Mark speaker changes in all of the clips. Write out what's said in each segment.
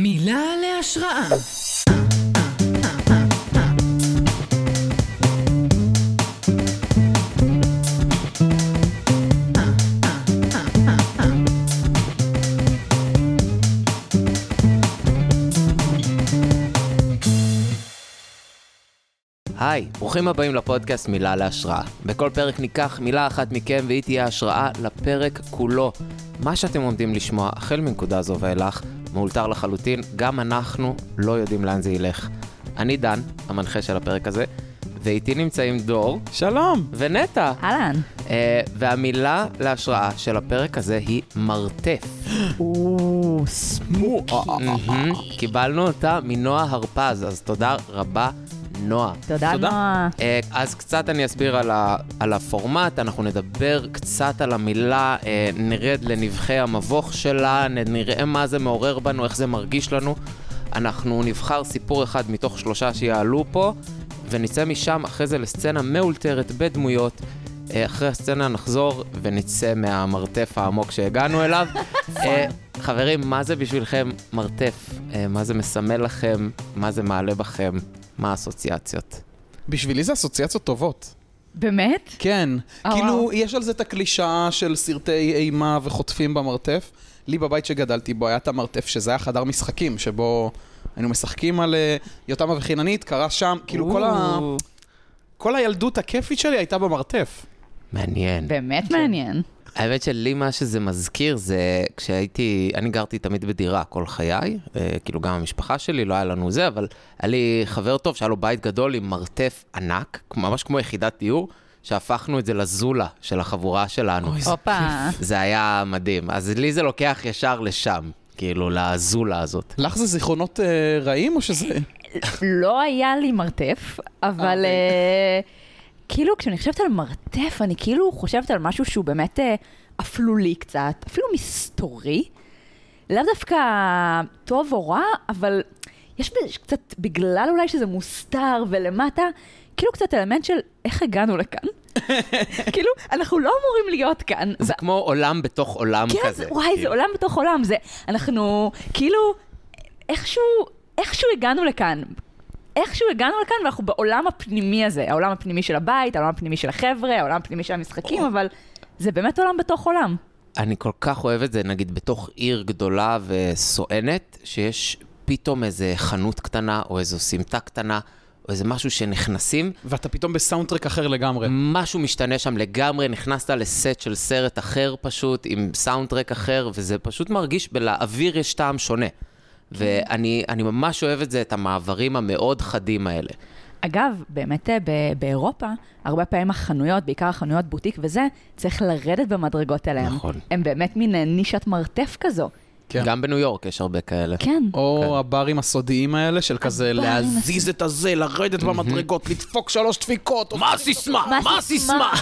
Speaker 1: מילה להשראה.
Speaker 2: היי, ברוכים הבאים לפודקאסט מילה להשראה. בכל פרק ניקח מילה אחת מכם והיא תהיה השראה לפרק כולו. מה שאתם עומדים לשמוע החל מנקודה זו ואילך, מאולתר לחלוטין, גם אנחנו לא יודעים לאן זה ילך. אני דן, המנחה של הפרק הזה, ואיתי נמצאים דור
Speaker 3: שלום.
Speaker 2: ונטע.
Speaker 4: אהלן.
Speaker 2: אה, והמילה להשראה של הפרק הזה היא מרתף.
Speaker 4: או, סמוק.
Speaker 3: אה,
Speaker 2: מהמם. קיבלנו אותה מנועה הרפז, אז תודה רבה, נועה.
Speaker 4: תודה,
Speaker 3: תודה.
Speaker 4: נועה.
Speaker 2: אה, אז קצת אני אסביר על, ה, על הפורמט, אנחנו נדבר קצת על המילה, אה, נרד לנבחי המבוך שלה, נ- נראה מה זה מעורר בנו, איך זה מרגיש לנו. אנחנו נבחר סיפור אחד מתוך שלושה שיעלו פה, ונצא משם אחרי זה לסצנה מאולתרת בדמויות. אה, אחרי הסצנה נחזור ונצא מהמרתף העמוק שהגענו אליו. אה, חברים, מה זה בשבילכם מרתף? אה, מה זה מסמל לכם? מה זה מעלה בכם? מה האסוציאציות?
Speaker 3: בשבילי זה אסוציאציות טובות.
Speaker 4: באמת?
Speaker 3: כן.
Speaker 4: אה,
Speaker 3: כאילו,
Speaker 4: וואו.
Speaker 3: יש על זה את הקלישאה של סרטי אימה וחוטפים במרתף. לי בבית שגדלתי בו היה את המרתף, שזה היה חדר משחקים, שבו היינו משחקים על אה, יותם וחיננית, קרה שם, כאילו כל ה...
Speaker 4: או,
Speaker 3: כל הילדות הכיפית שלי הייתה במרתף.
Speaker 2: מעניין.
Speaker 4: באמת מעניין.
Speaker 2: האמת שלי מה שזה מזכיר זה כשהייתי, אני גרתי תמיד בדירה כל חיי, אה, כאילו גם המשפחה שלי, לא היה לנו זה, אבל היה לי חבר טוב שהיה לו בית גדול עם מרתף ענק, כמו- ממש כמו יחידת דיור, שהפכנו את זה לזולה של החבורה שלנו.
Speaker 4: הופה.
Speaker 2: זה היה מדהים. אז לי זה לוקח ישר לשם, כאילו, לזולה הזאת.
Speaker 3: לך זה זיכרונות אה, רעים או שזה...
Speaker 4: לא היה לי מרתף, אבל
Speaker 3: אוקיי.
Speaker 4: אה, כאילו כשאני חושבת על מרתף, אני כאילו חושבת על משהו שהוא באמת אה, אפלולי קצת, אפילו מסתורי. לאו דווקא טוב או רע, אבל יש בזה ש- קצת, בגלל אולי שזה מוסתר ולמטה, כאילו קצת אלמנט של איך הגענו לכאן. כאילו, אנחנו לא אמורים להיות כאן.
Speaker 2: זה כמו עולם בתוך עולם
Speaker 4: כן,
Speaker 2: כזה.
Speaker 4: זה- וואי, זה
Speaker 2: כאילו.
Speaker 4: עולם בתוך עולם, זה, אנחנו, כאילו, איכשהו, איכשהו הגענו לכאן. איכשהו הגענו לכאן ואנחנו בעולם הפנימי הזה, העולם הפנימי של הבית, העולם הפנימי של החבר'ה, העולם הפנימי של המשחקים, אבל זה באמת עולם בתוך עולם.
Speaker 2: אני כל כך אוהב את זה, נגיד, בתוך עיר גדולה וסואנת, שיש פתאום איזה חנות קטנה, או איזו סמטה קטנה, או איזה משהו שנכנסים,
Speaker 3: ואתה פתאום בסאונדטרק אחר לגמרי.
Speaker 2: משהו משתנה שם לגמרי, נכנסת לסט של סרט אחר פשוט, עם סאונדטרק אחר, וזה פשוט מרגיש, ולאוויר יש טעם שונה. ואני אני ממש אוהב את זה, את המעברים המאוד חדים האלה.
Speaker 4: אגב, באמת אה, ב- באירופה, הרבה פעמים החנויות, בעיקר החנויות בוטיק וזה, צריך לרדת במדרגות אליהן.
Speaker 2: נכון.
Speaker 4: הם באמת מין אה, נישת מרתף כזו.
Speaker 3: כן.
Speaker 2: גם בניו יורק יש הרבה כאלה.
Speaker 4: כן.
Speaker 3: או הברים הסודיים האלה, של כזה
Speaker 4: הברים
Speaker 3: להזיז את הזה, לרדת במדרגות, לדפוק שלוש דפיקות. או-
Speaker 2: מה הסיסמה? מה הסיסמה?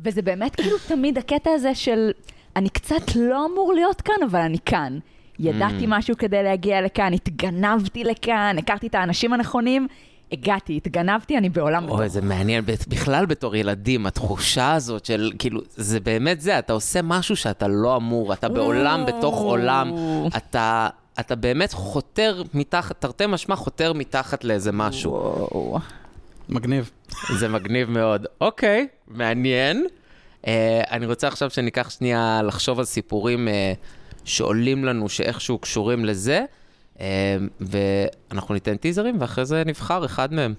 Speaker 4: וזה באמת כאילו תמיד הקטע הזה של אני קצת לא אמור להיות כאן, אבל אני כאן. ידעתי משהו כדי להגיע לכאן, התגנבתי לכאן, הכרתי את האנשים הנכונים, הגעתי, התגנבתי, אני בעולם בתוך.
Speaker 2: אוי, זה מעניין, בת- בכלל בתור ילדים, התחושה הזאת של, כאילו, זה באמת זה, אתה עושה משהו שאתה לא אמור, אתה בעולם בתוך עולם, אתה, אתה באמת חותר מתחת, תרתי משמע חותר מתחת לאיזה משהו.
Speaker 4: וואו.
Speaker 3: מגניב.
Speaker 2: זה מגניב מאוד. אוקיי, מעניין. Uh, אני רוצה עכשיו שניקח שנייה לחשוב על סיפורים uh, שעולים לנו, שאיכשהו קשורים לזה, uh, ואנחנו ניתן טיזרים, ואחרי זה נבחר אחד מהם.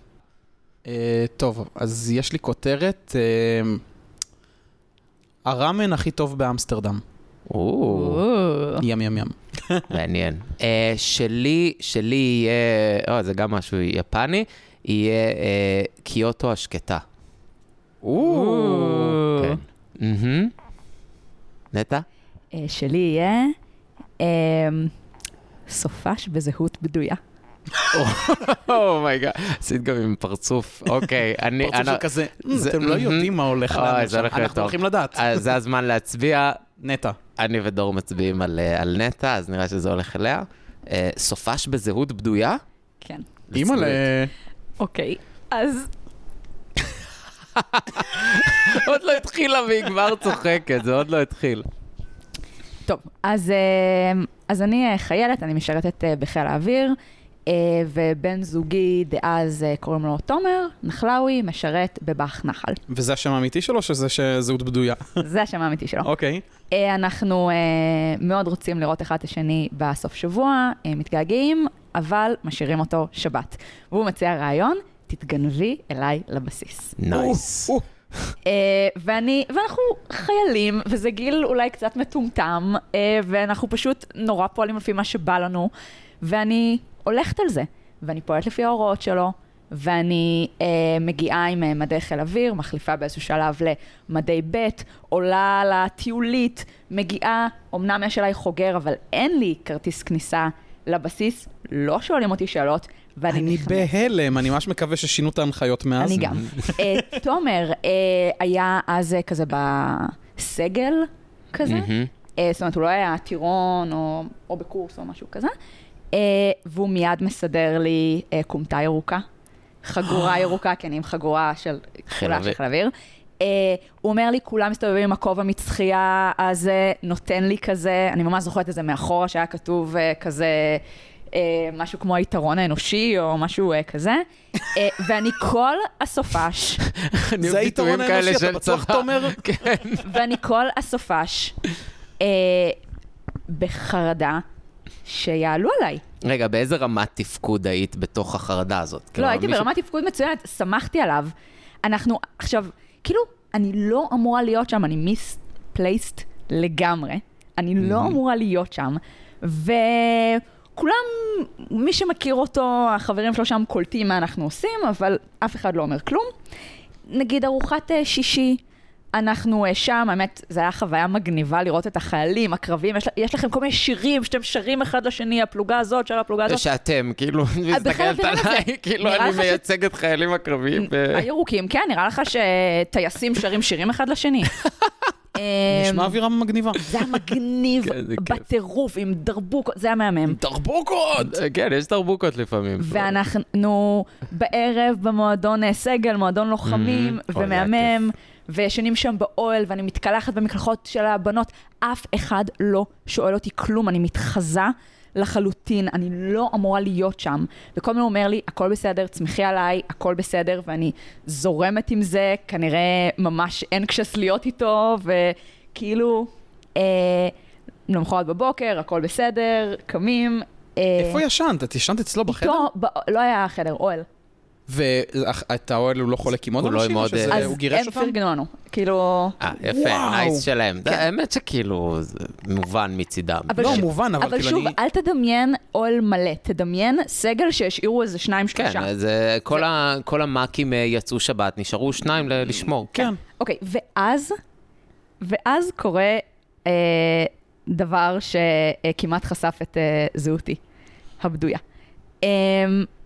Speaker 3: אה, טוב, אז יש לי כותרת, אה, הראמן הכי טוב באמסטרדם.
Speaker 2: או. אה.
Speaker 3: ים ים ים.
Speaker 2: מעניין. Uh, שלי, שלי יהיה, או, זה גם משהו יפני, יהיה uh, קיוטו השקטה. כן. מהמם. נטע?
Speaker 4: אה, שלי יהיה אה, סופש בזהות בדויה.
Speaker 2: אומייגאד. עשית גם עם פרצוף, אוקיי. אני-
Speaker 3: פרצוף
Speaker 2: אני-
Speaker 3: של כזה, "מ,
Speaker 2: זה-
Speaker 3: אתם לא
Speaker 2: מהמם.
Speaker 3: יודעים מה הולך
Speaker 2: אוי,
Speaker 3: עלינו
Speaker 2: זה
Speaker 3: שם,
Speaker 2: הולך להיות
Speaker 3: אנחנו
Speaker 2: טוב. אה,
Speaker 3: הולכים לדעת.
Speaker 2: אז זה הזמן להצביע,
Speaker 3: נטע.
Speaker 2: אני ודור מצביעים על אה, על נטע, אז נראה שזה הולך אליה. אה, סופש בזהות בדויה?
Speaker 4: כן.
Speaker 2: Let's do
Speaker 3: אימא'לה.
Speaker 4: אוקיי, אז
Speaker 2: it. עוד לא התחילה והיא כבר צוחקת, זה עוד לא התחיל.
Speaker 4: טוב, אז, אה, אז אני אה, חיילת, אני משרתת אה, בחיל האוויר, אה, ובן זוגי דאז אה, קוראים לו תומר נחלאוי, משרת בבאח נחל.
Speaker 3: וזה השם האמיתי שלו, שזה ש- זהות בדויה?
Speaker 4: זה השם האמיתי שלו.
Speaker 3: אוקיי.
Speaker 4: אה, אנחנו אה, מאוד רוצים לראות אחד את השני בסוף שבוע, אה, מתגעגעים, אבל משאירים אותו שבת. והוא מציע רעיון, תתגנבי אליי לבסיס.
Speaker 2: נייס.
Speaker 3: או,
Speaker 4: אה, ואני, ואנחנו חיילים, וזה גיל אולי קצת מטומטם, אה, ואנחנו פשוט נורא פועלים לפי מה שבא לנו, ואני הולכת על זה, ואני פועלת לפי ההוראות שלו, ואני אה, מגיעה עם אה, מדי חיל אוויר, מחליפה באיזשהו שלב למדי ב', עולה לטיולית, מגיעה, אמנם יש עליי חוגר, אבל אין לי כרטיס כניסה לבסיס, לא שואלים אותי שאלות, ואני
Speaker 3: אני
Speaker 4: נכנסת.
Speaker 3: בהלם, אני ממש מקווה ששינו את ההנחיות מאז.
Speaker 4: אני גם. אה, תומר אה, היה אז אה, כזה בסגל כזה,
Speaker 2: מהמם.
Speaker 4: אה, זאת אומרת, הוא לא היה טירון או, או בקורס או משהו כזה, אה, והוא מיד מסדר לי אה, כומתה ירוקה, חגורה ירוקה, כי אני עם חגורה של כחולה של
Speaker 2: אוויר.
Speaker 4: חיל אוויר. אה, הוא אומר לי, כולם מסתובבים עם הכובע מצחייה, אז אה, נותן לי כזה, אני ממש זוכרת את זה מאחורה, שהיה כתוב אה, כזה... אה, משהו כמו היתרון האנושי או משהו אה, כזה, אה, ואני כל הסופש
Speaker 2: אני
Speaker 3: זה
Speaker 2: אוהב
Speaker 3: היתרון
Speaker 2: ביטויים כאלה
Speaker 3: האנושי, אתה
Speaker 2: של
Speaker 3: בטוח
Speaker 2: צבא.
Speaker 3: תומר?
Speaker 2: כן.
Speaker 4: ואני כל הסופש אה, בחרדה שיעלו עליי.
Speaker 2: רגע, באיזה רמת תפקוד היית בתוך החרדה הזאת?
Speaker 4: לא,
Speaker 2: כאילו,
Speaker 4: הייתי
Speaker 2: מישהו-
Speaker 4: ברמת תפקוד מצוינת, שמחתי עליו. אנחנו, עכשיו, כאילו, אני לא אמורה להיות שם, אני מיספלייסט לגמרי. אני לא אמורה להיות שם. וכולם, מי שמכיר אותו, החברים שלו שם קולטים מה אנחנו עושים, אבל אף אחד לא אומר כלום. נגיד ארוחת אה, שישי, אנחנו אה, שם, האמת, זו הייתה חוויה מגניבה לראות את החיילים, הקרבים, יש, יש לכם כל מיני שירים שאתם שרים אחד לשני, הפלוגה הזאת, שר הפלוגה הזאת. אה,
Speaker 2: שאתם, כאילו,
Speaker 4: בכלל
Speaker 2: מסתכלת
Speaker 4: אווירה
Speaker 2: עליי,
Speaker 4: זה.
Speaker 2: כאילו,
Speaker 4: נראה
Speaker 2: אני
Speaker 4: לך ש-
Speaker 2: מייצג את חיילים הקרביים. ב-
Speaker 4: הירוקים, כן, נראה לך שטייסים שרים שירים אחד לשני. אמ, אה,
Speaker 3: נשמע אווירה מגניבה.
Speaker 4: זה היה מגניב
Speaker 2: כן, זה כיף.
Speaker 4: בטירוף, עם דרבוק, זה היה מהמם.
Speaker 3: תרבוקות!
Speaker 2: כן, יש תרבוקות לפעמים.
Speaker 4: ואנחנו בערב במועדון אה, סגל, מועדון לוחמים,
Speaker 2: Mhm. אוי, זה היה
Speaker 4: ומהמם, וישנים שם באוהל, ואני מתקלחת במקלחות של הבנות, אף אחד לא שואל אותי כלום, אני מתחזה לחלוטין, אני לא אמורה להיות שם. וכל מיני אומר לי, הכל בסדר, צמחי עליי, הכל בסדר, ואני זורמת עם זה, כנראה ממש אנקשס להיות איתו, וכאילו, אה, למחרת בבוקר, הכל בסדר, קמים. אה,
Speaker 3: איפה ישנת? את ישנת אצלו בחדר? אה,
Speaker 4: איתו, ב- לא היה חדר, אוהל.
Speaker 3: ואת האוהל הוא לא חולק עם עוד
Speaker 2: הוא לא
Speaker 3: אנשים?
Speaker 2: עם
Speaker 3: או
Speaker 2: עוד,
Speaker 3: שזה-
Speaker 2: אה,
Speaker 4: אז
Speaker 3: הוא גירש
Speaker 4: הם
Speaker 3: אותם?
Speaker 4: פרגנו לנו, כאילו...
Speaker 2: אה, יפה,
Speaker 3: וואו.
Speaker 2: נייס שלהם. האמת שכאילו, זה מובן מצידם.
Speaker 4: כן. אבל
Speaker 3: לא,
Speaker 4: ש-
Speaker 3: מובן, אבל
Speaker 4: אבל
Speaker 3: כאילו
Speaker 4: שוב, אה,
Speaker 3: אני...
Speaker 4: אל תדמיין אוהל מלא, תדמיין סגל שהשאירו איזה שניים, שלושה.
Speaker 2: כן, אז אה, כל ה- כל המאקים אה, יצאו שבת, נשארו שניים ל- לשמור.
Speaker 3: כן.
Speaker 4: אוקיי, ואז, ואז קורה אה, דבר שכמעט חשף את אה, זהותי הבדויה. אה,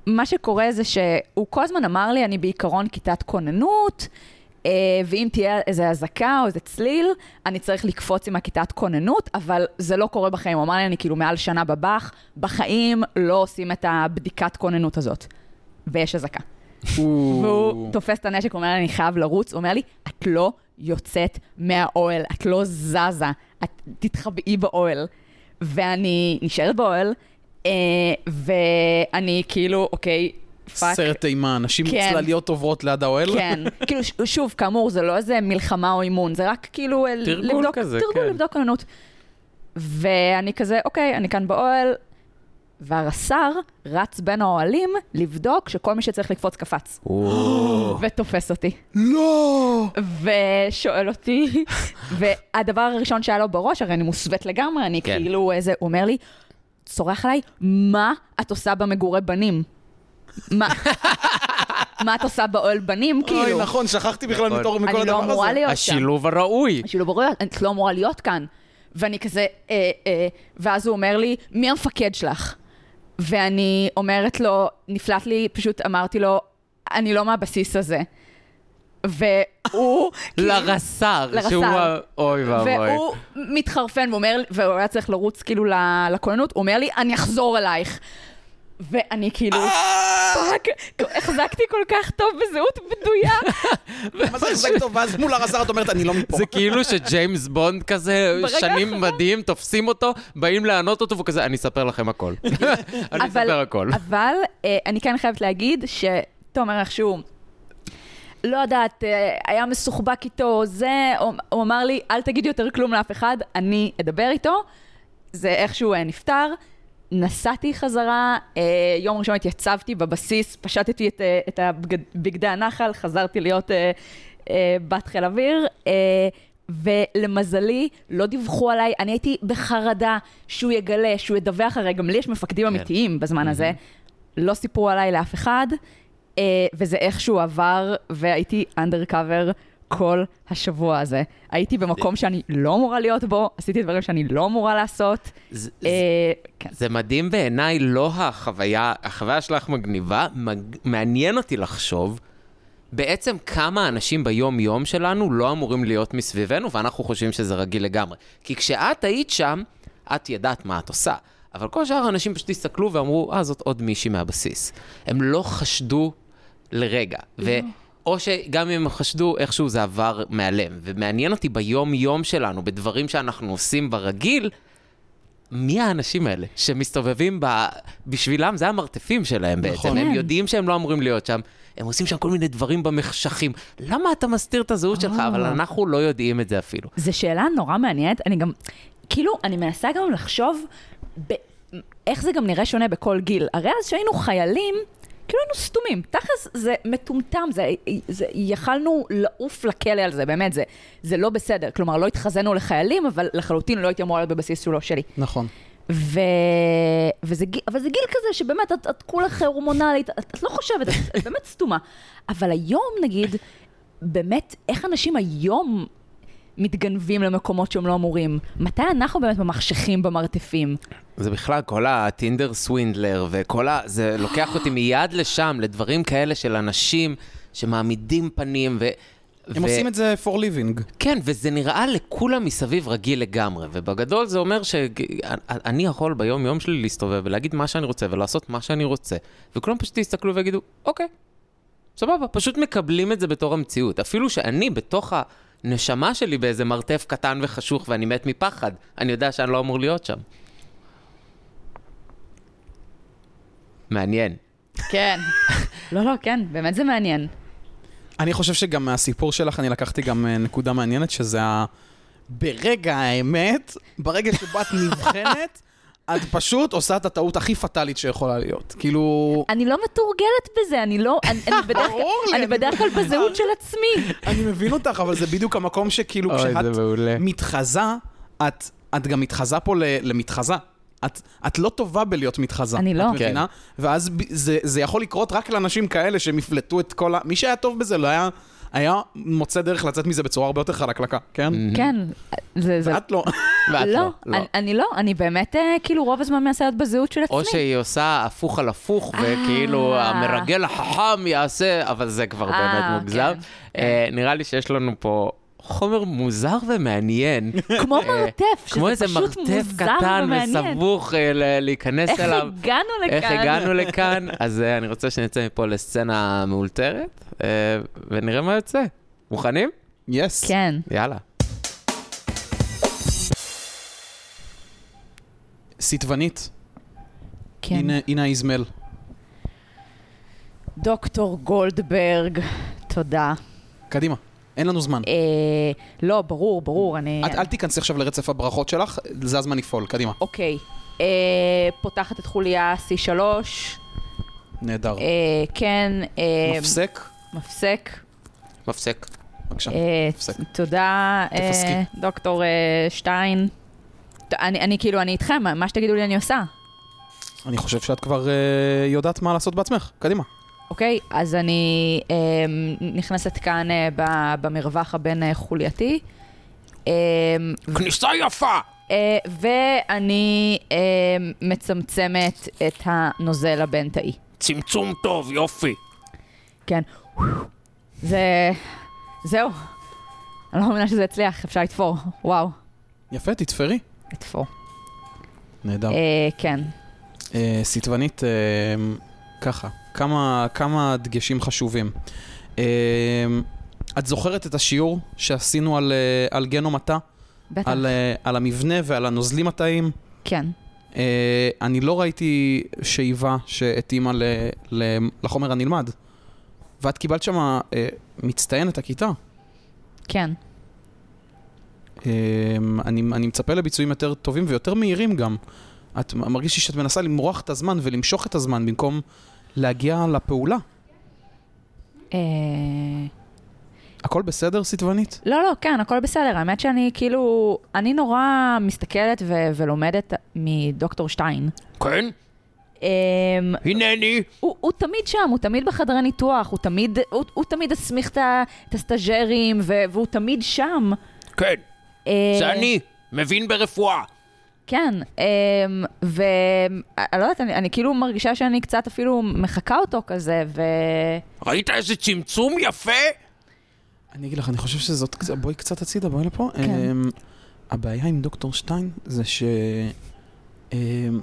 Speaker 4: מה שקורה זה שהוא כל הזמן אמר לי, אני בעיקרון כיתת כוננות, אה, ואם תהיה איזה אזעקה או איזה צליל, אני צריך לקפוץ עם הכיתת כוננות, אבל זה לא קורה בחיים. הוא אמר לי, אני כאילו מעל שנה בבח, בחיים לא עושים את הבדיקת כוננות הזאת. ויש אזעקה. והוא תופס את הנשק, אומר לי, אני חייב לרוץ, הוא אומר לי, את לא יוצאת מהאוהל, את לא זזה, את תתחבאי באוהל. ואני נשארת באוהל, אה, ואני כאילו, אוקיי, פאק.
Speaker 3: סרט אימה, נשים
Speaker 4: כן.
Speaker 3: צלליות עוברות ליד האוהל.
Speaker 4: כן, כאילו, ש- שוב, כאמור, זה לא איזה מלחמה או אימון, זה רק כאילו... אה,
Speaker 2: תרגול
Speaker 4: לבדוק,
Speaker 2: כזה,
Speaker 4: תרגול,
Speaker 2: כן.
Speaker 4: לבדוק כוננות. ואני כזה, אוקיי, אני כאן באוהל, והרס"ר רץ בין האוהלים לבדוק שכל מי שצריך לקפוץ קפץ, ותופס אותי.
Speaker 3: לא!
Speaker 4: ושואל אותי, והדבר הראשון שהיה לו בראש, הרי אני מוסווית לגמרי, אני
Speaker 2: כן.
Speaker 4: כאילו איזה, הוא אומר לי, צורח עליי, מה את עושה במגורי בנים? מה, מה את עושה באוהל בנים, כאילו?
Speaker 3: אוי, נכון, שכחתי בכלל
Speaker 2: נכון.
Speaker 3: מכל הדבר
Speaker 4: אני
Speaker 3: הזה.
Speaker 4: לא אמורה להיות שם.
Speaker 2: השילוב הראוי.
Speaker 4: כאילו, ברור, את לא אמורה להיות כאן. ואני כזה, אה, אה, ואז הוא אומר לי, מי המפקד שלך? ואני אומרת לו, נפלט לי, פשוט אמרתי לו, אני לא מהבסיס הזה. כאילו- והוא...
Speaker 2: לרס"ר,
Speaker 4: לרס"ר.
Speaker 2: שהוא ה... אוי ואבוי.
Speaker 4: והוא מתחרפן ואומר, והוא היה צריך לרוץ כאילו ל- לכוננות, הוא אומר לי, אני אחזור אלייך. ואני כאילו,
Speaker 2: אה!
Speaker 3: אה!
Speaker 4: פאק, החזקתי כל כך טוב בזהות בדויה.
Speaker 3: מה זה החזק טוב? ואז מול הרזרת אומרת, אני לא מפה.
Speaker 2: זה כאילו שג'יימס בונד כזה,
Speaker 4: ברגע
Speaker 2: שנים
Speaker 4: האחרון.
Speaker 2: מדהים, תופסים אותו, באים לענות אותו, והוא כזה, אני אספר לכם הכל. אני אספר הכל.
Speaker 4: אבל אה, אני כן חייבת להגיד שתומר איכשהו, לא יודעת, אה, היה מסוחבק איתו, זה, הוא- הוא אמר לי, אל תגיד יותר כלום לאף אחד, אני אדבר איתו. זה איכשהו אה, נפתר. נסעתי חזרה, אה, יום ראשון התייצבתי בבסיס, פשטתי את, אה, את הבגד- בגדי הנחל, חזרתי להיות אה, אה, בת חיל אוויר, אה, ולמזלי לא דיווחו עליי, אני הייתי בחרדה שהוא יגלה, שהוא ידווח, הרי גם לי יש מפקדים אמיתיים בזמן הזה, לא סיפרו עליי לאף אחד, אה, וזה איכשהו עבר, והייתי אנדרקאבר. כל השבוע הזה. הייתי במקום שאני לא אמורה להיות בו, עשיתי דברים שאני לא אמורה לעשות.
Speaker 2: זה-
Speaker 4: אה, כן.
Speaker 2: זה מדהים בעיניי, לא החוויה, החוויה שלך מגניבה, מג... מעניין אותי לחשוב בעצם כמה אנשים ביום-יום שלנו לא אמורים להיות מסביבנו, ואנחנו חושבים שזה רגיל לגמרי. כי כשאת היית שם, את ידעת מה את עושה. אבל כל שאר האנשים פשוט הסתכלו ואמרו, אה, זאת עוד מישהי מהבסיס. הם לא חשדו לרגע.
Speaker 3: Mm.
Speaker 2: ו... או שגם אם הם חשדו, איכשהו זה עבר מהלם. ומעניין אותי ביום-יום שלנו, בדברים שאנחנו עושים ברגיל, מי האנשים האלה שמסתובבים ב... בשבילם, זה המרתפים שלהם בעצם.
Speaker 3: נכון.
Speaker 2: הם
Speaker 4: כן.
Speaker 2: יודעים שהם לא אמורים להיות שם, הם עושים שם כל מיני דברים במחשכים. למה אתה מסתיר את הזהות שלך?
Speaker 4: אה.
Speaker 2: אבל אנחנו לא יודעים את זה אפילו.
Speaker 4: זו שאלה נורא מעניינת, אני גם, כאילו, אני מנסה גם לחשוב ב... איך זה גם נראה שונה בכל גיל. הרי אז שהיינו חיילים, כאילו היינו סתומים. תכלס זה מטומטם, זה, זה, יכלנו לעוף לכלא על זה, באמת, זה, זה לא בסדר. כלומר, לא התחזינו לחיילים, אבל לחלוטין לא הייתי אמורה להיות בבסיס שהוא לא שלי.
Speaker 3: נכון.
Speaker 4: ו... וזה, גיל- אבל זה גיל כזה שבאמת את, את כולך הורמונלית, את, את לא חושבת, את, את באמת סתומה. אבל היום נגיד, באמת, איך אנשים היום מתגנבים למקומות שהם לא אמורים? מתי אנחנו באמת במחשכים במרתפים?
Speaker 2: זה בכלל, כל הטינדר סווינדלר וכל ה... זה לוקח אותי מיד לשם, לדברים כאלה של אנשים שמעמידים פנים ו...
Speaker 3: הם עושים את זה for living.
Speaker 2: כן, וזה נראה לכולם מסביב רגיל לגמרי, ובגדול זה אומר שאני יכול ביום-יום שלי להסתובב ולהגיד מה שאני רוצה ולעשות מה שאני רוצה, וכולם פשוט יסתכלו ויגידו, אוקיי, סבבה, פשוט מקבלים את זה בתור המציאות. אפילו שאני בתוך הנשמה שלי באיזה מרתף קטן וחשוך ואני מת מפחד, אני יודע שאני לא אמור להיות שם. מעניין.
Speaker 4: כן. לא, לא, כן, באמת זה מעניין.
Speaker 3: אני חושב שגם מהסיפור שלך אני לקחתי גם אה, נקודה מעניינת, שזה ה... ברגע האמת, ברגע שבו את נבחנת, את פשוט עושה את הטעות הכי פטאלית שיכולה להיות. כאילו,
Speaker 4: אני לא מתורגלת בזה, אני לא, אני, אני, בדרך,
Speaker 3: ברור לי,
Speaker 4: אני
Speaker 3: אני-
Speaker 4: בדרך כלל בזהות של עצמי.
Speaker 3: אני מבין אותך, אבל זה בדיוק המקום שכאילו
Speaker 2: אוי, זה
Speaker 3: כשאת
Speaker 2: מעולה.
Speaker 3: מתחזה, את, את גם מתחזה פה ל, למתחזה. את, את לא טובה בלהיות מתחזה.
Speaker 4: אני לא.
Speaker 3: את מבינה? כן. ואז ב- זה, זה יכול לקרות רק לאנשים כאלה שהם יפלטו את כל ה... מי שהיה טוב בזה לא היה, היה מוצא דרך לצאת מזה בצורה הרבה יותר חלקלקה, כן?
Speaker 4: כן, זה, זה...
Speaker 3: ואת לא.
Speaker 2: ואת
Speaker 4: לא,
Speaker 2: לא.
Speaker 4: אני, אני לא, אני באמת, אה, כאילו, רוב הזמן מנסה להיות בזהות של עצמי.
Speaker 2: או שהיא עושה הפוך על הפוך, וכאילו
Speaker 4: אה.
Speaker 2: המרגל החכם יעשה, אבל זה כבר
Speaker 4: אה,
Speaker 2: באמת מוגזם.
Speaker 4: כן,
Speaker 2: אה, נראה לי שיש לנו פה חומר מוזר ומעניין.
Speaker 4: כמו
Speaker 2: אה,
Speaker 4: מרתף, שזה
Speaker 2: כמו איזה
Speaker 4: פשוט
Speaker 2: מרתף
Speaker 4: מוזר
Speaker 2: קטן
Speaker 4: ומעניין.
Speaker 2: וסבוך אה, ל- להיכנס
Speaker 4: איך
Speaker 2: אליו.
Speaker 4: הגענו לכאן?
Speaker 2: איך הגענו לכאן? אז אה, אני רוצה שנצא מפה לסצנה מאולתרת, אה, ונראה מה יוצא. מוכנים?
Speaker 3: יס.
Speaker 4: כן.
Speaker 2: יאללה.
Speaker 3: סיטבנית.
Speaker 4: כן.
Speaker 3: הנה הנה איזמל.
Speaker 4: דוקטור גולדברג, תודה.
Speaker 3: קדימה. אין לנו זמן.
Speaker 4: אה, לא, ברור, ברור, אני...
Speaker 3: את אל תיכנסי עכשיו לרצף הברכות שלך, זה הזמן לפעול. קדימה.
Speaker 4: אוקיי. אה, פותחת את חוליה C3,
Speaker 3: נהדר.
Speaker 4: אה, כן, אה,
Speaker 3: מפסק.
Speaker 4: מפסק.
Speaker 2: מפסק.
Speaker 3: בבקשה.
Speaker 4: אה,
Speaker 3: מפסק.
Speaker 4: תודה, אה,
Speaker 3: תפסקי.
Speaker 4: דוקטור אה, שטיין. ת- אני אני כאילו, אני איתכם, מה- מה שתגידו לי אני עושה.
Speaker 3: אני חושב שאת כבר אה, יודעת מה לעשות בעצמך. קדימה.
Speaker 4: אוקיי, אז אני אה, נכנסת כאן אה, ב- במרווח הבין אה, חולייתי. אה,
Speaker 2: כניסה יפה!
Speaker 4: אה, ואני אה, מצמצמת את הנוזל הבין-תאי.
Speaker 2: צמצום טוב, יופי.
Speaker 4: כן. זה... זהו. אני לא מאמינה שזה הצליח, אפשר לתפור. וואו,
Speaker 3: יפה, תתפרי.
Speaker 4: לתפור.
Speaker 3: נהדר.
Speaker 4: אה, כן.
Speaker 3: אה, סיטבנית, אה, ככה, כמה, כמה דגשים חשובים. אה, את זוכרת את השיעור שעשינו על, אה, על גנום התא?
Speaker 4: בטח,
Speaker 3: על, אה, על המבנה ועל הנוזלים התאיים?
Speaker 4: כן.
Speaker 3: אה, אני לא ראיתי שאיבה שהתאימה ל, ל, לחומר הנלמד. ואת קיבלת שם אה, מצטיינת הכיתה.
Speaker 4: כן.
Speaker 3: אה, אני, אני מצפה לביצועים יותר טובים ויותר מהירים גם. את מרגיש לי שאת מנסה למרוח את הזמן ולמשוך את הזמן במקום להגיע לפעולה.
Speaker 4: אה...
Speaker 3: הכל בסדר, סיטבנית?
Speaker 4: לא, לא, כן, הכל בסדר. האמת שאני כאילו, אני נורא מסתכלת ו- ולומדת מדוקטור שטיין.
Speaker 5: כן,
Speaker 4: אמ,
Speaker 5: הנני.
Speaker 4: הוא, הוא תמיד שם, הוא תמיד בחדרי ניתוח, הוא תמיד, הוא, הוא תמיד הסמיך את ה- את הסטאג'רים, ו- והוא תמיד שם.
Speaker 5: כן,
Speaker 4: אה,
Speaker 5: מבין ברפואה.
Speaker 4: כן, ואני לא יודעת, אני, אני כאילו מרגישה שאני קצת אפילו מחקה אותו כזה, ו...
Speaker 5: ראית איזה צמצום יפה?
Speaker 3: אני אגיד לך, אני חושב שזאת קצת... בואי קצת הצידה, בואי לפה.
Speaker 4: כן.
Speaker 3: אמ, הבעיה עם דוקטור שטיין זה ש... אמ,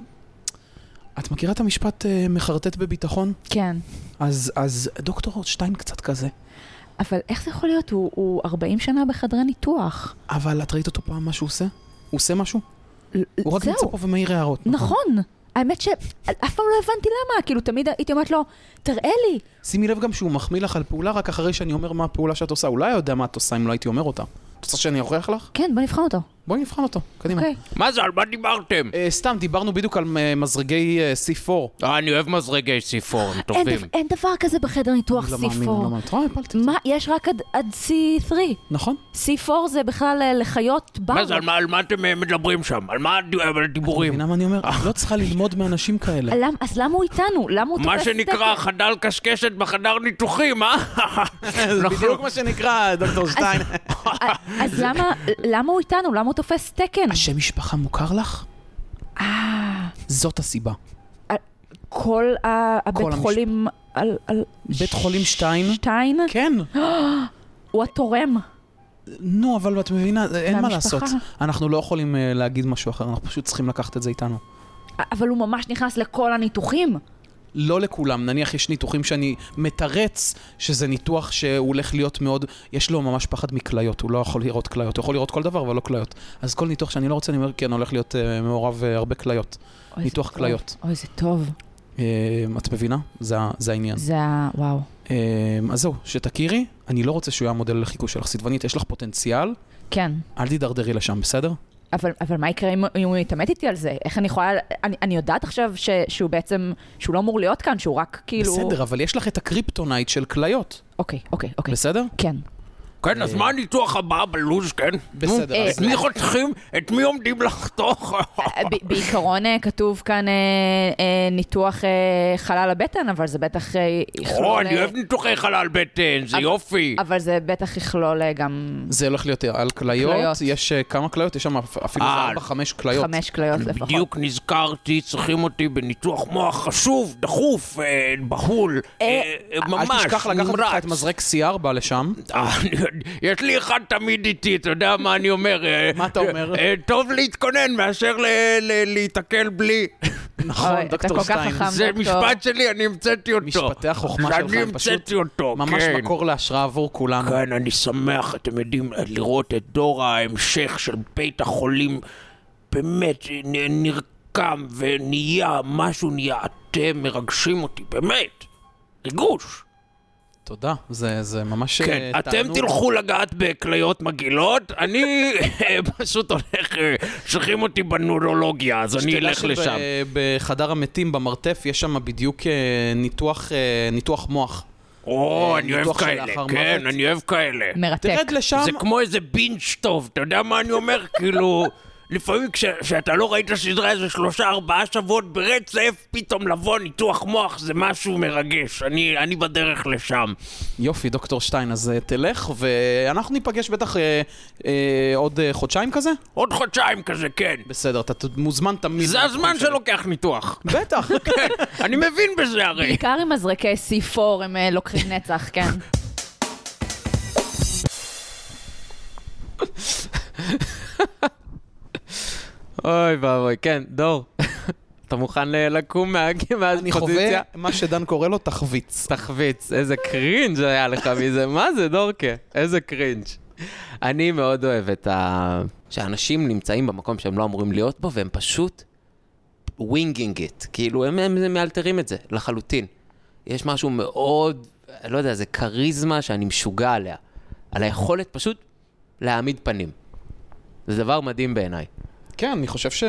Speaker 3: את מכירה את המשפט אה, מחרטט בביטחון?
Speaker 4: כן.
Speaker 3: אז, אז דוקטור שטיין קצת כזה,
Speaker 4: אבל איך זה יכול להיות? הוא, הוא 40 שנה בחדרי ניתוח.
Speaker 3: אבל את ראית אותו פעם מה שהוא עושה? הוא עושה משהו?
Speaker 4: ל-
Speaker 3: הוא רק
Speaker 4: זהו.
Speaker 3: נמצא פה ומעיר הערות.
Speaker 4: נכון. האמת שאף פעם לא הבנתי למה, כאילו תמיד הייתי אומרת לו, תראה לי.
Speaker 3: שימי לב גם שהוא מחמיא לך על פעולה רק אחרי שאני אומר מה הפעולה שאת עושה. הוא לא היה יודע מה את עושה אם לא הייתי אומר אותה. את רוצה שאני אוכיח לך?
Speaker 4: כן, בוא נבחן אותו.
Speaker 3: בואי נבחן אותו, קדימה.
Speaker 4: אוקיי.
Speaker 5: מה זה, על מה דיברתם?
Speaker 3: אה, סתם, דיברנו בדיוק על אה, מזרגי אה, C4.
Speaker 5: אה, אני אוהב מזרגי ציפור,
Speaker 3: אה,
Speaker 5: הם
Speaker 4: אין,
Speaker 5: טובים.
Speaker 4: דב- אוקיי. אין דבר כזה בחדר ניתוח
Speaker 3: אני לא מאמין, אני לא
Speaker 4: C4.
Speaker 3: מאמין. את רואה, הפלתי.
Speaker 4: מה, יש רק עד, עד C3.
Speaker 3: נכון.
Speaker 4: C4 זה בכלל אה, לחיות בר.
Speaker 5: מה זה, על מה- על מה אתם אה, מדברים שם? על מה הד- על
Speaker 3: את
Speaker 5: הדיבורים?
Speaker 3: מבינה מה אני
Speaker 4: אה.
Speaker 3: אומר? את לא צריכה ללמוד מאנשים כאלה.
Speaker 4: למ, אז למה הוא איתנו? למה הוא
Speaker 5: מה
Speaker 4: תופס
Speaker 5: שנקרא
Speaker 4: תקן?
Speaker 5: חדל קשקשת בחדר ניתוחים, אה? נכון.
Speaker 3: זה
Speaker 5: אנחנו-
Speaker 3: בדיוק מה שנקרא, דוקטור שטיין.
Speaker 4: אה, אז למה, למה הוא איתנו? למה הוא תופס תקן?
Speaker 3: השם משפחה מוכר לך?
Speaker 4: אה,
Speaker 3: זאת הסיבה.
Speaker 4: כל אה? ה- הבית
Speaker 3: המשפט.
Speaker 4: חולים... על, על...
Speaker 3: בית חולים שטיין?
Speaker 4: שטיין?
Speaker 3: כן.
Speaker 4: הוא התורם.
Speaker 3: נו, אבל את מבינה, אין מה
Speaker 4: והמשפחה.
Speaker 3: לעשות. אנחנו לא יכולים אה, להגיד משהו אחר, אנחנו פשוט צריכים לקחת את זה איתנו.
Speaker 4: אבל הוא ממש נכנס לכל הניתוחים.
Speaker 3: לא לכולם, נניח יש ניתוחים שאני מתרץ, שזה ניתוח שהוא הולך להיות מאוד, יש לו ממש פחד מכליות, הוא לא יכול לראות כליות, הוא יכול לראות כל דבר אבל לא כליות. אז כל ניתוח שאני לא רוצה, אני אומר, כן, הולך להיות אה, מעורב אה, הרבה כליות.
Speaker 4: אוי,
Speaker 3: ניתוח
Speaker 4: זה טוב.
Speaker 3: כליות.
Speaker 4: אוי, זה טוב.
Speaker 5: כן.
Speaker 3: אה, את מבינה? זה, ה- זה העניין.
Speaker 4: זה ה... וואו.
Speaker 3: אה, אז זהו, שתכירי, אני לא רוצה שהוא יהיה המודל לחיקוי שלך. סדבנית, יש לך פוטנציאל,
Speaker 4: כן.
Speaker 3: אל תידרדרי לשם, בסדר?
Speaker 4: אבל, אבל מה יקרה אם, אם הוא יתעמת איתי על זה? איך אני יכולה... אני, אני יודעת עכשיו ש, שהוא בעצם... שהוא לא אמור להיות כאן, שהוא רק כאילו...
Speaker 3: בסדר, אבל יש לך את הקריפטונייט של כליות,
Speaker 4: אוקיי, אוקיי, אוקיי.
Speaker 3: בסדר?
Speaker 4: כן.
Speaker 5: כן, אז מה הניתוח הבא בלו"ז, כן?
Speaker 3: בסדר, אה,
Speaker 5: נו,
Speaker 4: אז-
Speaker 5: את מי חותכים? את מי עומדים לחתוך?
Speaker 4: ב- בעיקרון אה, כתוב כאן אה, אה, ניתוח אה, חלל הבטן, אבל זה בטח אה, יכלול...
Speaker 5: או, נכון, אני
Speaker 4: אה,
Speaker 5: אוהב ניתוחי חלל בטן, זה
Speaker 4: אבל-
Speaker 5: יופי.
Speaker 4: אבל זה בטח יכלול אה, גם
Speaker 3: זה הולך להיות על כליות,
Speaker 4: כליות.
Speaker 3: יש אה, כמה כליות, יש שם אפ- אפילו
Speaker 5: אה.
Speaker 3: ארבע, חמש כליות.
Speaker 4: חמש כליות לפחות.
Speaker 5: בדיוק נזכרתי, צריכים אותי בניתוח מוח חשוב, דחוף, אה, בהול, אה, אה, ממש,
Speaker 3: אל תשכח לקחת איתך את
Speaker 5: נמרץ.
Speaker 3: מזרק C4 לשם.
Speaker 5: אה, יש לי אחד תמיד איתי, אתה יודע מה אני אומר? אה,
Speaker 3: מה אתה אומר?
Speaker 5: אה, טוב להתכונן מאשר ל- ל- להיתקל בלי.
Speaker 4: אוי,
Speaker 3: נכון,
Speaker 4: אתה
Speaker 3: דוקטור
Speaker 4: כל כך
Speaker 3: שטיין.
Speaker 4: חכם.
Speaker 5: זה
Speaker 4: דוקטור.
Speaker 5: משפט שלי, אני המצאתי אותו.
Speaker 3: משפטי החוכמה שלך
Speaker 5: אני
Speaker 3: הם פשוט
Speaker 5: המצאתי אותו, כן.
Speaker 3: ממש מקור להשראה עבור כולנו.
Speaker 5: כן, אני שמח, אתם יודעים, לראות את דור ההמשך של בית החולים באמת נ- נרקם ונהיה, משהו נהיה, אתם מרגשים אותי, באמת. ריגוש.
Speaker 3: תודה, זה זה ממש
Speaker 5: כן,
Speaker 3: אה,
Speaker 5: אתם
Speaker 3: תענוג.
Speaker 5: תלכו לגעת בכליות מגעילות, אני אה, פשוט הולך, אה, צריכים אותי בנורולוגיה, אז אני
Speaker 3: שתדע
Speaker 5: אלך לשם.
Speaker 3: שב- בחדר המתים, במרתף, יש שם בדיוק אה, ניתוח, אה, ניתוח מוח.
Speaker 5: או,
Speaker 3: אה,
Speaker 5: אני אוהב
Speaker 3: ניתוח של
Speaker 5: כאלה,
Speaker 3: לאחר
Speaker 5: כן,
Speaker 3: מוות.
Speaker 5: אני אוהב כאלה.
Speaker 4: מרתק.
Speaker 3: תרד לשם,
Speaker 5: זה כמו איזה בינג' טוב, אתה יודע מה אני אומר? כאילו, לפעמים כש- כשאתה לא ראית סדרה איזה שלושה ארבעה שבועות ברצף, פתאום לבוא ניתוח מוח זה משהו מרגש. אני, אני בדרך לשם.
Speaker 3: יופי, דוקטור שטיין, אז אה, תלך, ואנחנו ניפגש בטח אה, אה, עוד אה, חודשיים כזה?
Speaker 5: עוד חודשיים כזה, כן.
Speaker 3: בסדר, אתה ת- מוזמן תמיד.
Speaker 5: זה הזמן שלוקח ניתוח.
Speaker 3: בטח.
Speaker 5: כן, אני מבין בזה הרי.
Speaker 4: בעיקר עם מזרקי C4 הם אה, לוקחים נצח, כן.
Speaker 5: אוי ואבוי, כן, דור.
Speaker 2: אתה מוכן אה, לקום מה-
Speaker 3: אני
Speaker 2: מהפוזיציה?
Speaker 3: חווה מה שדן קורא לו תחביץ.
Speaker 2: תחביץ, איזה קרינג' היה לך מזה, מה זה דורקה? איזה קרינג'. אני מאוד אוהב את ה... שאנשים נמצאים במקום שהם לא אמורים להיות בו, והם פשוט ווינגינג איט. כאילו, הם, הם, הם מאלתרים את זה לחלוטין. יש משהו מאוד, אני לא יודע, זה כריזמה שאני משוגע עליה. על היכולת פשוט להעמיד פנים. זה דבר מדהים בעיניי.
Speaker 3: כן, אני חושב ש...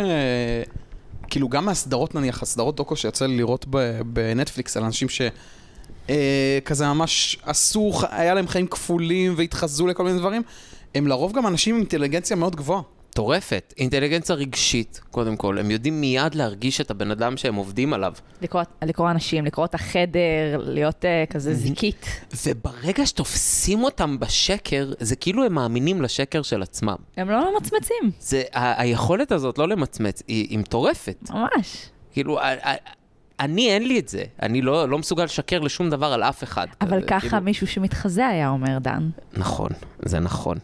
Speaker 3: כאילו, גם מהסדרות נניח, הסדרות דוקו שיצא לי לראות ב- בנטפליקס על אנשים ש... אה, כזה ממש עשו, ח- היה להם חיים כפולים והתחזו לכל מיני דברים, הם לרוב גם אנשים עם אינטליגנציה מאוד גבוהה.
Speaker 2: מטורפת. אינטליגנציה רגשית, קודם כל. הם יודעים מיד להרגיש את הבן אדם שהם עובדים עליו.
Speaker 4: לקרוא, לקרוא אנשים, לקרוא את החדר, להיות אה, כזה זיקית.
Speaker 2: וברגע שתופסים אותם בשקר, זה כאילו הם מאמינים לשקר של עצמם.
Speaker 4: הם לא ממצמצים,
Speaker 2: זה, ה- היכולת הזאת לא למצמץ, היא, היא מטורפת.
Speaker 4: ממש.
Speaker 2: כאילו, ה- ה- אני אין לי את זה. אני לא, לא מסוגל לשקר לשום דבר על אף אחד.
Speaker 4: אבל
Speaker 2: כזה,
Speaker 4: ככה
Speaker 2: כאילו-
Speaker 4: מישהו שמתחזה היה אומר, דן.
Speaker 2: נכון, זה נכון.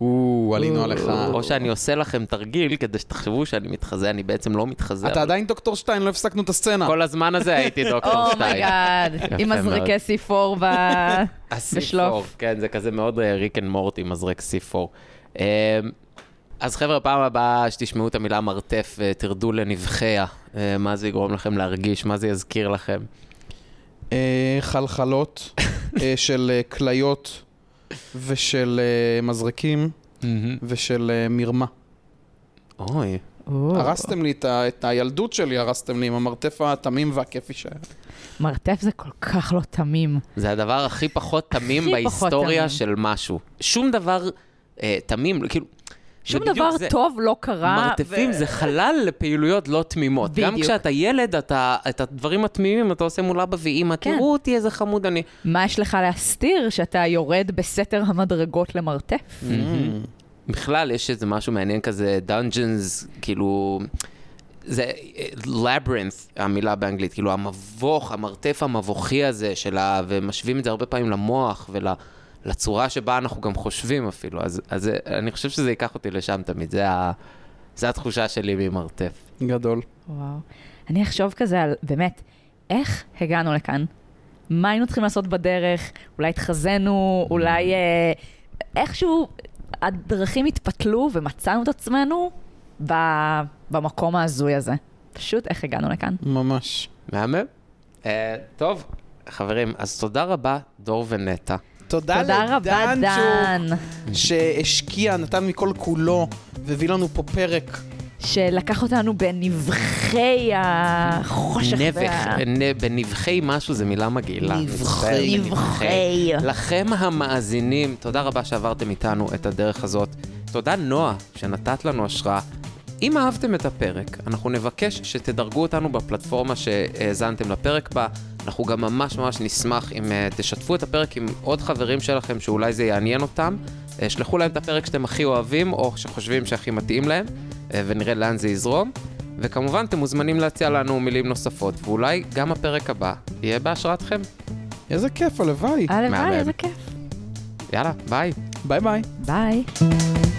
Speaker 3: או, עלינו עליך.
Speaker 2: או שאני עושה לכם תרגיל כדי שתחשבו שאני מתחזה, אני בעצם לא מתחזה.
Speaker 3: אתה עדיין דוקטור שטיין, לא הפסקנו את הסצנה.
Speaker 2: כל הזמן הזה הייתי
Speaker 4: Oh
Speaker 2: דוקטור שטיין.
Speaker 4: אומייגאד,
Speaker 2: יפה
Speaker 4: עם מזרקי
Speaker 2: מאוד.
Speaker 4: C4 ב...
Speaker 2: הסיפור,
Speaker 4: בשלוף.
Speaker 2: כן, זה כזה מאוד אה, ריק אנד מורטי מזרק סיפור. אמ, אז חבר'ה, פעם הבאה שתשמעו את המילה מרתף, אה, תרדו לנבחיה, אה, מה זה יגרום לכם להרגיש, מה זה יזכיר לכם.
Speaker 3: אה, חלחלות אה, של אה, כליות ושל אה, מזרקים ושל אה, מרמה.
Speaker 2: אוי,
Speaker 4: או,
Speaker 3: הרסתם לי את ה- את הילדות שלי, הרסתם לי עם המרתף התמים והכיפי שהיה.
Speaker 4: מרתף זה כל כך לא תמים.
Speaker 2: זה הדבר הכי פחות תמים
Speaker 4: הכי פחות
Speaker 2: בהיסטוריה
Speaker 4: תמים.
Speaker 2: של משהו. שום דבר אה, תמים, כאילו... זה
Speaker 4: שום
Speaker 2: בדיוק
Speaker 4: דבר
Speaker 2: זה.
Speaker 4: טוב לא קרה.
Speaker 2: מרתפים
Speaker 4: ו-
Speaker 2: זה חלל לפעילויות לא תמימות. גם
Speaker 4: בדיוק.
Speaker 2: כשאתה ילד, אתה, את הדברים התמימים אתה עושה מול אבא ואימא,
Speaker 4: כן.
Speaker 2: תראו אותי איזה חמוד אני.
Speaker 4: מה יש לך להסתיר שאתה יורד בסתר המדרגות למרתף?
Speaker 2: בכלל, יש איזה משהו מעניין כזה, Dungeons, כאילו... זה labyrinth, המילה באנגלית, כאילו המבוך, המרתף המבוכי הזה שלה, ומשווים את זה הרבה פעמים למוח ולצורה שבה אנחנו גם חושבים אפילו, אז, אז זה- אני חושב שזה ייקח אותי לשם תמיד, זה, ה, זה התחושה שלי ממרתף.
Speaker 3: Mm-hmm. גדול.
Speaker 4: וואו. אני אחשוב כזה על, באמת, איך הגענו לכאן? מה היינו צריכים לעשות בדרך? אולי התחזינו, אולי אה, איכשהו הדרכים התפתלו ומצאנו את עצמנו ב, במקום ההזוי הזה. פשוט איך הגענו לכאן.
Speaker 3: ממש.
Speaker 2: מהמם? Uh, טוב, חברים, אז תודה רבה, דור ונטע.
Speaker 3: תודה,
Speaker 4: תודה רבה, דן,
Speaker 3: שהשקיע, נתן מכל כולו, והביא לנו פה פרק.
Speaker 4: שלקח אותנו בנבחי החושך.
Speaker 2: נבך,
Speaker 4: וה-
Speaker 2: נ- בנבחי משהו זה מילה מגעילה.
Speaker 3: נבחי.
Speaker 2: נבחי.
Speaker 4: נבחי.
Speaker 2: לכם המאזינים, תודה רבה שעברתם איתנו את הדרך הזאת. תודה נועה שנתת לנו השראה. אם אהבתם את הפרק, אנחנו נבקש שתדרגו אותנו בפלטפורמה שהאזנתם לפרק בה. אנחנו גם ממש ממש נשמח אם אה, תשתפו את הפרק עם עוד חברים שלכם שאולי זה יעניין אותם. אה, שלחו להם את הפרק שאתם הכי אוהבים או שחושבים שהכי מתאים להם, אה, ונראה לאן זה יזרום. וכמובן, אתם מוזמנים להציע לנו מילים נוספות, ואולי גם הפרק הבא יהיה בהשראתכם.
Speaker 3: איזה
Speaker 4: אה.
Speaker 3: כיף, הלוואי.
Speaker 4: הלוואי,
Speaker 2: מהמם.
Speaker 4: איזה כיף.
Speaker 2: יאללה, ביי.
Speaker 3: ביי ביי.
Speaker 4: ביי.